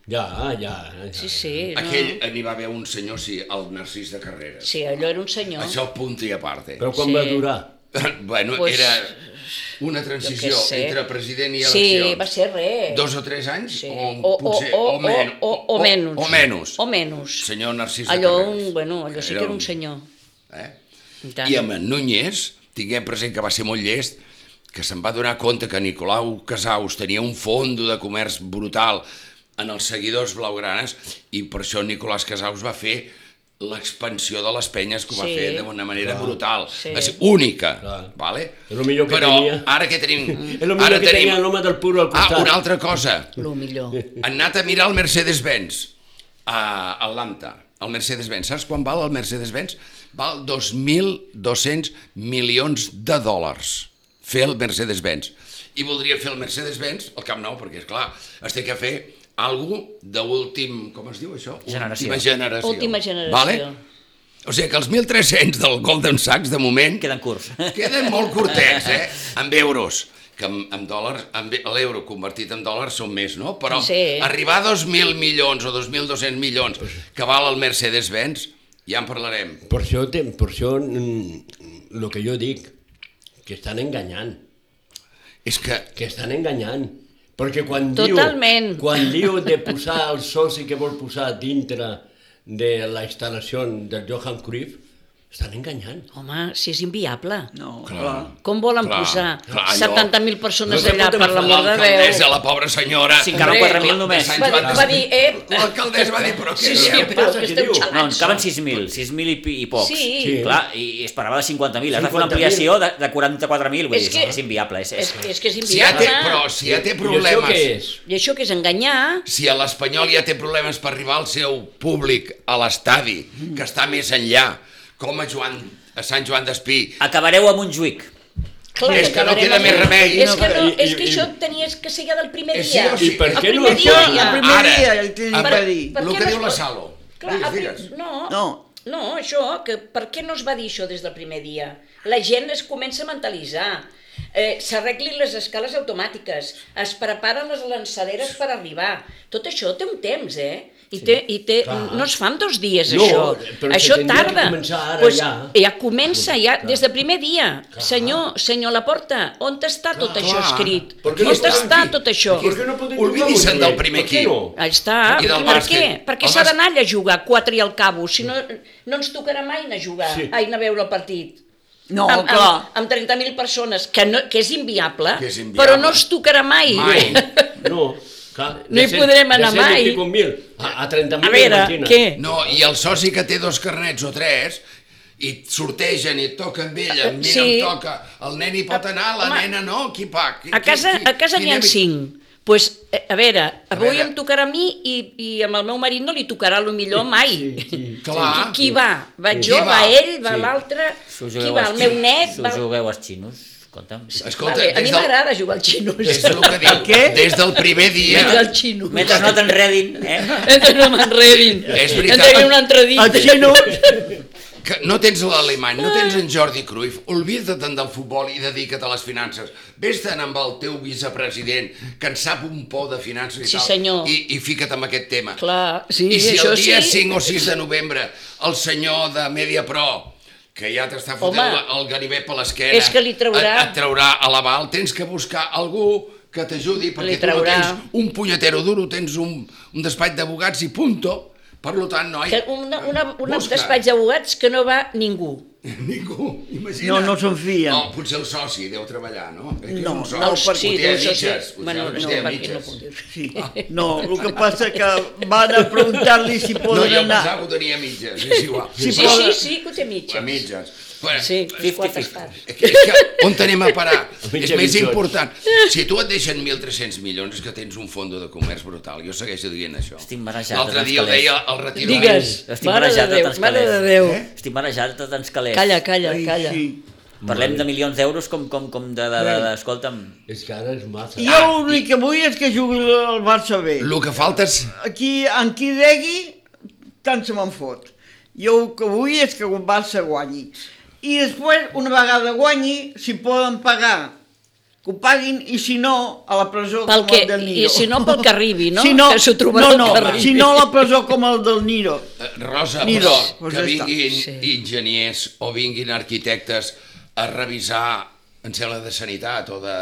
Ja, ja. ja. Sí, sí. No. Aquell n'hi va haver un senyor, sí, el Narcís de Carreras. Sí, allò era un senyor. Això punt i a part. Eh? Però quan Sí. va durar? bueno, Pues, era una transició jo què sé. entre president i sí, eleccions. va ser res. Dos o tres anys? Sí. O, O, o, potser, o, o, men- o, o, menys. O, menys. O menys. Senyor Narcís de Allò, Carreras. un, bueno, allò sí que era un senyor. Eh? I tant. I amb en Núñez, tinguem present que va ser molt llest, que se'n va donar compte que Nicolau Casaus tenia un fondo de comerç brutal en els seguidors blaugranes i per això Nicolás Casaus va fer l'expansió de les penyes que ho va Sí. fer d'una manera brutal, Sí. és única, Clar. vale? És lo millor que Però tenia. ara que tenim... És el millor ara que tenim... tenia l'home del puro al costat. Ah, una altra cosa. Lo millor. Han anat a mirar el Mercedes-Benz a Atlanta. El Mercedes-Benz. Saps quan val el Mercedes-Benz? Val 2.200 milions de dòlars fer el Mercedes-Benz. I voldria fer el Mercedes-Benz al Camp Nou, perquè, és clar, es té que fer algú d'últim... Com es diu això? Generació. Última generació. Última generació. Vale? O sigui que els 1.300 del Golden Sachs, de moment, Queden curts. Queden molt curtets, eh? Amb euros que amb, amb dòlars, amb e, l'euro convertit en dòlars són més, no? Però Sí. arribar a 2.000 milions o 2.200 milions que val el Mercedes-Benz, ja en parlarem. Per això, te- per això el mm, que jo dic, que estan enganyant, És que... que estan enganyant. Perquè quan Totalment. diu, quan diu de posar el soci que vol posar dintre de la instal·lació de Johan Cruyff, estan enganyant. Home, si és inviable. No, clar. Clar. Com volen Clar, posar clar, allò- 70.000 persones No te allà, pot per l'amor de L'alcaldessa, Déu? la pobra senyora... Sí, encara Hombre, 4.000 de només. Sant Va, dir- Joan. va dir, eh, L'alcaldessa va dir, però què sí, sí, dieu? però que què esteu diu? No, en xalats. caben 6.000, 6.000 i, pi- i pocs. Sí. Sí. Clar, i esperava de 50.000. Has de fer una 50.000. ampliació de, de 44.000, vull dir, És que- és inviable. És, És, és... és que és Si ja té, inviable. però si ja té I això què problemes... és? I això que és enganyar, Si a l'Espanyol ja té problemes per arribar al seu públic a l'estadi, que està més enllà, com a Joan a Sant Joan d'Espí, Acabareu a Montjuïc. clar És que no acabarem queda amb- més remei. És que, no, I- i- és que i- això tenies que ser ja del primer Eh, sí, dia. o sí, I per El què no primer es dia pot? ja. El primer Ara, dia el tindria per- que dir. Per El què que no diu es la pot- Salo. Clar, Digues, a prim- digues. No, No. no, això, que per què no es va dir això des del primer dia? La gent es comença a mentalitzar. Eh, S'arreglin les escales automàtiques, es preparen les lançaderes per arribar. Tot això té un temps, eh? I, té, i té, Clar. no es fa en dos dies, No, això. però això que tindria que tarda. començar ara, ja. ja comença, ja, des del primer dia. Senyor, senyor Laporta, on està tot això clar. escrit? Per què no On està està aquí? tot això? Per què no podem Oblidi-se'n jugar a del primer Montjuïc? Per què equip. no? Ahí està. I del per bàsquet. què? Perquè El s'ha bàs- d'anar allà a jugar, quatre i al cabo, si no, no ens tocarà mai anar a jugar, Sí. sí. ai, anar a veure el partit. No, amb, clar. Amb, amb 30.000 persones, que, no, que, és inviable, Que és inviable. però no ens tocarà mai. Mai. No, clar, No hi de cent- podrem anar de cent i mai. pico mil A, a 30.000, A veure, imagina't. què? No, i el soci que té dos carnets o tres, i et sortegen i et toca amb ella, amb mi Sí. em toca, el nen hi pot anar, la Home, nena no, qui pa? Qui, A casa, qui- qui- a casa qui n'hi ha anem i- cinc. Pues, eh, a veure, avui veure. em tocarà a mi i, i amb el meu marit no li tocarà lo millor mai. Clar. Qui, qui va? Va Qui jo, va, va? ell, va Sí. l'altre, Si us qui jugueu va? als El meu xinos- net? Si Va... us jugueu als xinos, escolta'm. Escolta, vale, a des mi del- m'agrada jugar als xinos. És el que diu, què? des del primer dia... Mentre el xino. Mentre no t'enredin, eh? Mentre no m'enredin. És veritat. Entreguin un altre dit. El xino, que no tens l'alemany, no tens en Jordi Cruyff, oblida-te'n del futbol i dedica't a les finances. Vés-te'n amb el teu vicepresident, que en sap un por de finances i Sí, tal, senyor. I, i fica't en aquest tema. Clar, sí, I si això el dia sí. 5 o 6 de novembre el senyor de Mediapro, que ja t'està fotent Home, la- el ganivet per l'esquena, és que li traurà- Et, et traurà a l'aval, tens que buscar algú que t'ajudi, perquè Li tu no traurà. tens un punyetero duro, tens un, un despatx d'abogats i punto. Per lo tant, noi, Que una, una, un busca. despatx d'abogats que no va ningú. Ningú, imagina. No, no se'n fien. No, potser el soci deu treballar, no? Crec que és No, un no, soci. per- ho sí, té a deu ser- mitges, ho sí. té- Bueno, ho té a no, perquè mitges. no puc dir-ho. Sí. No, el que passa que van a preguntar-li si No, poden jo anar... pensava que ho tenia a mitges, és igual. Sí, Sí, però- sí, sí, que ho té mitges. A mitges. Bueno, Sí, 50-50. les quatre parts. És que, és que on anem a parar? mitja és més mitjons. important. Si tu et deixen 1.300 milions és que tens un fondo de comerç brutal. Jo segueixo dient això. Estic marejat L'altre de dia ho escalers. deia el retiro. Digues, Estic mare de marejat de Déu, tants mare de calés. Déu. Estic marejat de tants calés. Calla, calla, Ai, calla. Sí. Parlem de milions d'euros com, com, com de, de, de, de, escolta'm... És que ara és massa. Jo Ah, l'únic que vull és que jugui el Barça bé. El que falta és... Aquí, en qui degui, tant se me'n fot. Jo el que vull és que el Barça guanyi. I després, una vegada guanyi, si poden pagar, que ho paguin, i si no, a la presó Pel com que- el del i Niro. si no, pel que arribi, no? Si no, Que s'ho trobarà no, el que no, arribi. si no, a la presó com el del Niro. Eh, Rosa, Ni però dos, que doncs ja està. vinguin Sí. enginyers o vinguin arquitectes a revisar en sembla de sanitat o de...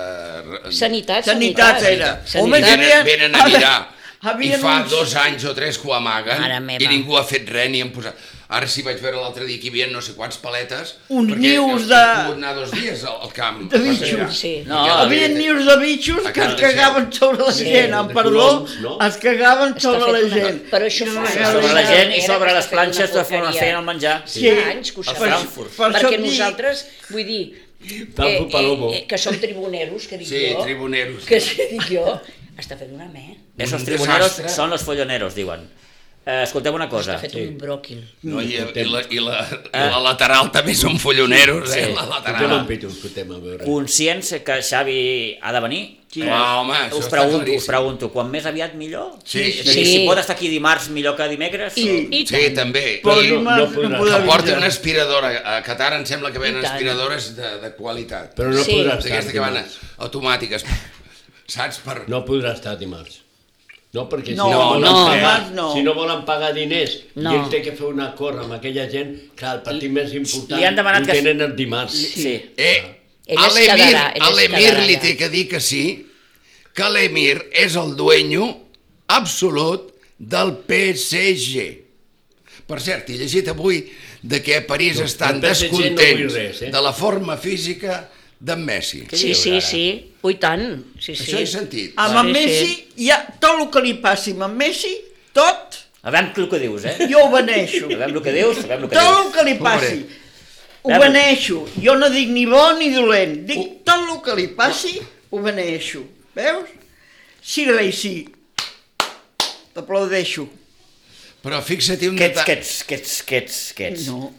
Sanitat, Sanitat sanitat. era. Sanitat. Home, Venen, havien- venen a mirar. I havien fa uns- dos anys o tres que ho Mare amaguen meva. i ningú ha fet res ni han posat... Ara sí vaig veure l'altre dia que hi havia no sé quants paletes Uns perquè nius han de- pogut anar dos dies al, al camp. De bitxos. Perquè- Sí. No, Ah, Perquè- Havien nius de bitxos que es cagaven sobre la Sí. gent, amb De perdó, coloms, no? es cagaven Està sobre fet la una- gent. Però això fa Sobre anys. Sobre la gent i Era sobre que les està fent una planxes de on porqueria. feien el menjar. Sí. Fa anys que ho Per- sabem. per això perquè et dic- nosaltres, vull dir, Tant eh, fa Ah, Palomo. eh, que som tribuneros, que dic Sí, jo, tribuneros. que si dic jo, està fent una me. Esos Un tribuneros desastre. són los folloneros, diuen. Eh, escolteu una cosa. Està fet un bròquil. No, i, i, la, i, la, i la lateral també són folloneros, eh? Sí. La Fotem un lateral. pito, fotem a veure. Conscients que Xavi ha de venir? Eh, Sí. Ah, home, això us està pregunto, us claríssim. pregunto, quan més aviat millor? Sí, És a sí, dir, Sí. si pot estar aquí dimarts millor que dimecres? Sí. sí I tant. també. Però No, I- no, dimarts no podrà. no podrà Que porta vindre. una aspiradora. A Qatar em sembla que I venen tant. aspiradores de, de qualitat. Però no Sí. podrà estar D'aquestes que van dimarts. automàtiques. Saps? Per... No podrà estar dimarts. No, perquè No, si no, volen no. pagar, Dimarts no. si no volen pagar diners No. i ell té que fer un acord amb aquella gent, clar, el partit més important li han demanat ho que- tenen el dimarts. Sí. Eh, Ell a es l'Emir quedarà, ell a es l'Emir quedarà li allà. té que dir que sí, que l'Emir és el dueño absolut del PSG. Per cert, he llegit avui de que a París Del- estan del PSG no vull descontents res, eh? de la forma física d'en Messi. Sí, Ah. sí, sí. Ui, tant. Sí, sí. Això he sentit. Amb Sí, en Messi, hi ha tot el que li passi amb en Messi, tot, A veure el que dius, eh? jo ho beneixo. A veure el que dius, a veure el que Tot el dius. que li passi, ho Veure. beneixo. Jo no dic ni bo ni dolent, dic tot el que li passi, ho beneixo. Veus? Sí, rei, sí. T'aplaudeixo. Però fixa-t'hi un Que ets, que detall. ets, que ets, que ets, que ets. No.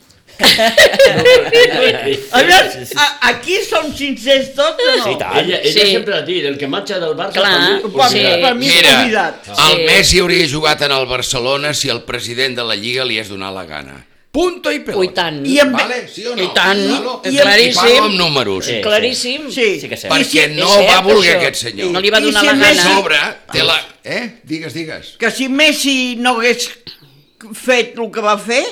A A veure, a- aquí som sincers tots o no? Sí, i tant. Ella, ella Sí. sempre ha dit, el que marxa del Barça... Clar, Per, per mi, sí. oblidat. per mi és Mira, convidat. el Sí. Messi hauria jugat en el Barcelona si el president de la Lliga li has donat la gana. Punto i pelota. Ui, tant. I en, Vale, sí o no? I tant, Claro, i I parlo claríssim. amb números. Sí. Claríssim. Sí. Sí que és cert. Perquè És no cert, va voler això. aquest senyor. No li va I donar si la a A més- gana. sobre, té la... Eh? Digues, digues. que si Messi no hagués fet el que va fer,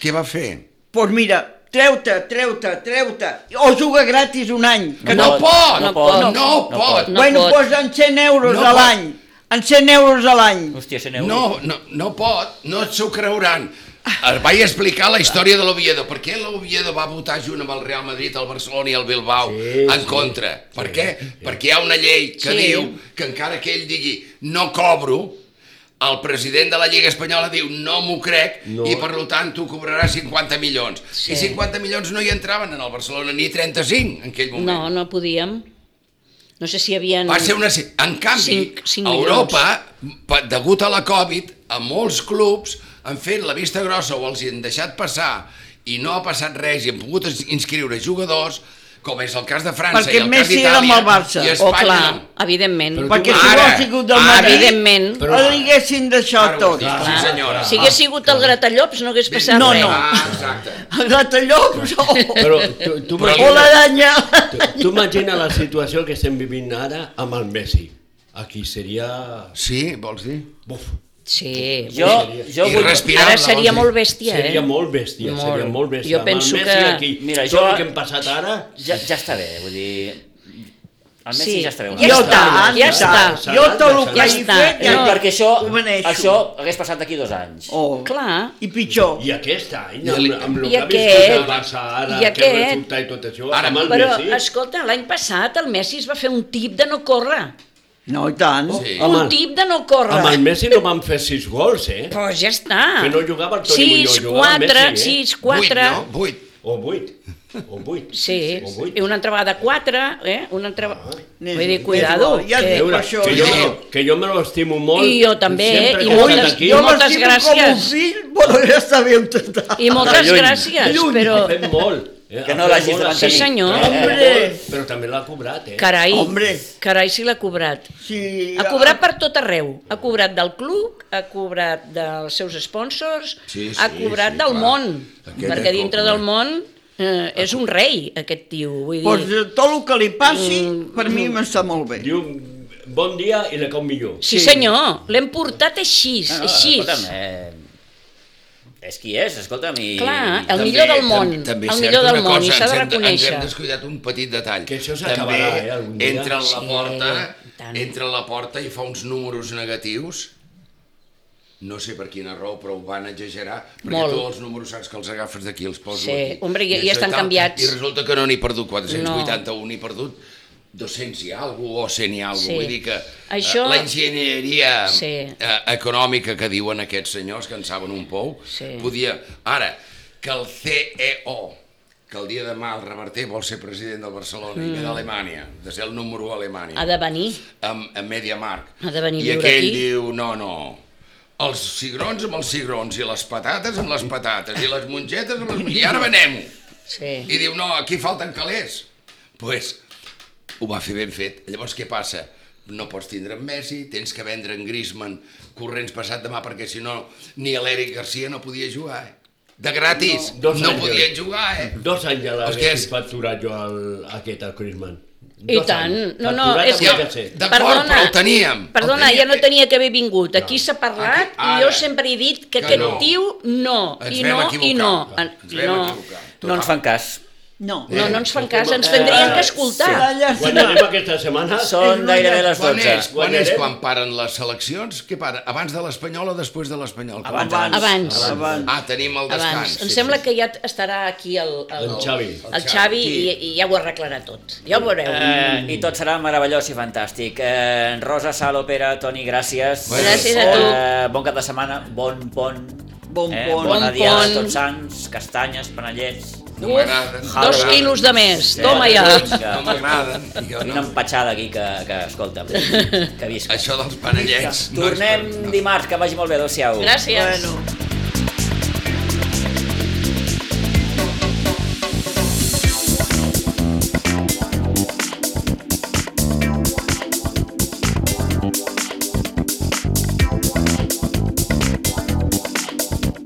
Què va fer? doncs mira, treu-te, treu-te, treu-te, o juga gratis un any. Que no, no, pot! no pot, No, no pot! no bueno, pot. posa en 100 euros No a pot. l'any, en 100 euros a l'any. Hòstia, se n'heu... No, no, no pot, no s'ho creuran. Es vaig explicar la història de l'Oviedo. Per què l'Oviedo va votar junt amb el Real Madrid, el Barcelona i el Bilbao Sí, en sí. contra? Per què? Perquè hi ha una llei que Sí. diu que encara que ell digui no cobro, el president de la Lliga Espanyola diu no m'ho crec No. i per lo tant tu cobraràs 50 milions. I 50 milions no hi entraven en el Barcelona, ni 35 en aquell moment. No, no podíem. No sé si Oh, hi havia... Va ser una... se- En canvi, Cinc- cinc a Europa, pa- degut a la Covid, a molts clubs han fet la vista grossa o els hi han deixat passar i no ha passat res i han pogut ins- inscriure jugadors, com és el cas de França Perquè i el Messi cas era amb d'Itàlia el Barça. i Oh, Espanya. clar, no. evidentment. Però Perquè tu- si no Ara, ha sigut del ara. Madrid, Evidentment. Però- el diguessin d'això Ara ho tot. dic, sí senyora. Si hagués sigut el gratallops no hagués passat No, res. no. Ah, exacte. El gratallops o, Però tu, tu, Però- o imagina, l'aranya. tu, tu imagina la situació que estem vivint ara amb el Messi. Aquí seria... Sí, vols dir? Buf, Sí. Jo, jo I vull... respira- Ara Tirant-la, vols dir? seria molt bèstia, eh? seria molt bèstia, Molt. seria molt Jo bèstia. Amb el penso Messi que- Aquí, Mira, tot jo- el que hem passat ara... Ja, ja està bé, vull dir... El Messi Sí. ja està bé. una Jo vegada. tant, ja està. Jo tot el que Ja he està. fet, Eh, ja No. perquè això, ho beneixo. això hagués passat d'aquí dos anys. Oh. Clar. I pitjor. I aquest any, I el- amb, amb el i que ha viscut aquest- el Barça ara, i que aquest- resulta i tot això, Ara, ara, amb el Però, Messi... escolta, l'any passat el Messi es va fer un tip de no córrer. No, i tant. Sí. Home, Un tip de no córrer. Amb el Messi no van fer sis gols, eh? Pues ja està. Que no jugava el Toni Muñoz, jugava el 4, Messi, eh? 6, 4... Vuit, no? Vuit. O vuit. O vuit. Sí, O i vuit. Ah. una altra vegada 4, eh? Una altra... N'és- Vull dir, n'és cuidado. bo, ja et que- A veure, Per això, que, jo, jo- me lo- que jo me l'estimo molt. I jo també, sempre eh, i que he estat moltes- aquí, Jo moltes m'estimo com un gràcies. fill, però ja està bé on està. I moltes Lluny. gràcies, Lluny, però... Ho fem molt. Eh, Que no ha fet l'hagis molt de la- mantenir. Sí, senyor. Hombre! Però també l'ha cobrat, eh? Carai, Hombre. carai si l'ha cobrat. Sí, Ha cobrat per tot arreu. Ha cobrat del club, ha cobrat dels seus sponsors, Sí, sí, ha cobrat sí, del clar. món, Aquest perquè és dintre el del que- món eh, és un rei, aquest tio. Vull Doncs dir, Mm. de tot el que li passi, per mi m'està molt bé. Diu, bon dia i la com millor. sí senyor, l'hem portat així, així. Ah, escolta'm, eh, és qui és, escolta'm. I, Clar, el també- millor del món, Tam- també és el cert millor del una món, cosa, i s'ha de ens hem- reconèixer. Ens hem descuidat un petit detall. Que això També s'acabarà, eh, algun dia. entra a la Sí, porta, i tant. entra a la porta i fa uns números negatius, no sé per quina raó, però ho van exagerar, perquè Molt. tu els números saps que els agafes d'aquí, els poso Sí, aquí. hombre, ja- I ja això estan i tal. canviats. I resulta que no n'hi he perdut 481, n'hi he perdut 200 i alguna o 100 i alguna Sí. Vull dir que eh, Això- l'enginyeria Sí. eh, econòmica que diuen aquests senyors, que en saben un pou, Sí. podia... Ara, que el CEO, que el dia de demà el Reverter vol ser president del Barcelona mm. i ve d'Alemanya, de ser el número 1 a Alemanya, Ha de venir. amb, amb MediaMarkt, Ha de venir a i viure aquell aquí. diu, no, no, els cigrons amb els cigrons, i les patates amb les patates, i les mongetes amb les mongetes, i ara venem-ho. Sí. I diu, no, aquí falten calés. Doncs pues, ho va fer ben fet. Llavors què passa? No pots tindre en Messi, tens que vendre en Griezmann corrents passat demà perquè si no ni l'Eric Garcia no podia jugar, eh? De gratis, No, no, dos no anys, podien Jordi. jugar, eh? Dos anys ja l'hagués Hòstia, és- facturat jo al, aquest, al Crisman. I tant. No, no, és que- que... De- D'acord, però el teníem, el Perdona, teníem. ja no tenia que haver vingut. Aquí s'ha parlat Aquí- ara. i jo sempre he dit que, Que aquest no. tio no, Ens i vam no, i equivocar. no. Ens i vam no. equivocar. No ens fan cas. No. No, no ens fan cas, ens Eh, tindrien que La escoltar. Quan llàstima. anem aquesta setmana... És Són una gairebé llàstima. les Quan és, 12. quan és Guanyarem. quan paren les seleccions? Què para? Abans de l'Espanyol o després de l'Espanyol? Abans, Abans. Abans. Abans. Ah, tenim el descans. Abans. Em Sí, sembla sí. que ja estarà aquí el, el, El Xavi. el Xavi i, i ja ho arreglarà tot. Ja ho veureu. Eh, I tot serà meravellós i fantàstic. Eh, Rosa, Sal, Pere, Toni, gràcies. Bueno. Gràcies a tu. Eh, bon cap de setmana, bon pont. Bon eh, pont. Bona Bon diada pont. a tots sants, castanyes, panellets. No m'agraden. Dos Ara. quilos de més. Toma ja. No m'agraden. I Jo una no. empatxada aquí que, que escolta, que visca. Això dels panellets... no és Tornem per- no. dimarts, que vagi molt bé, adeu-siau. Gràcies. Bueno.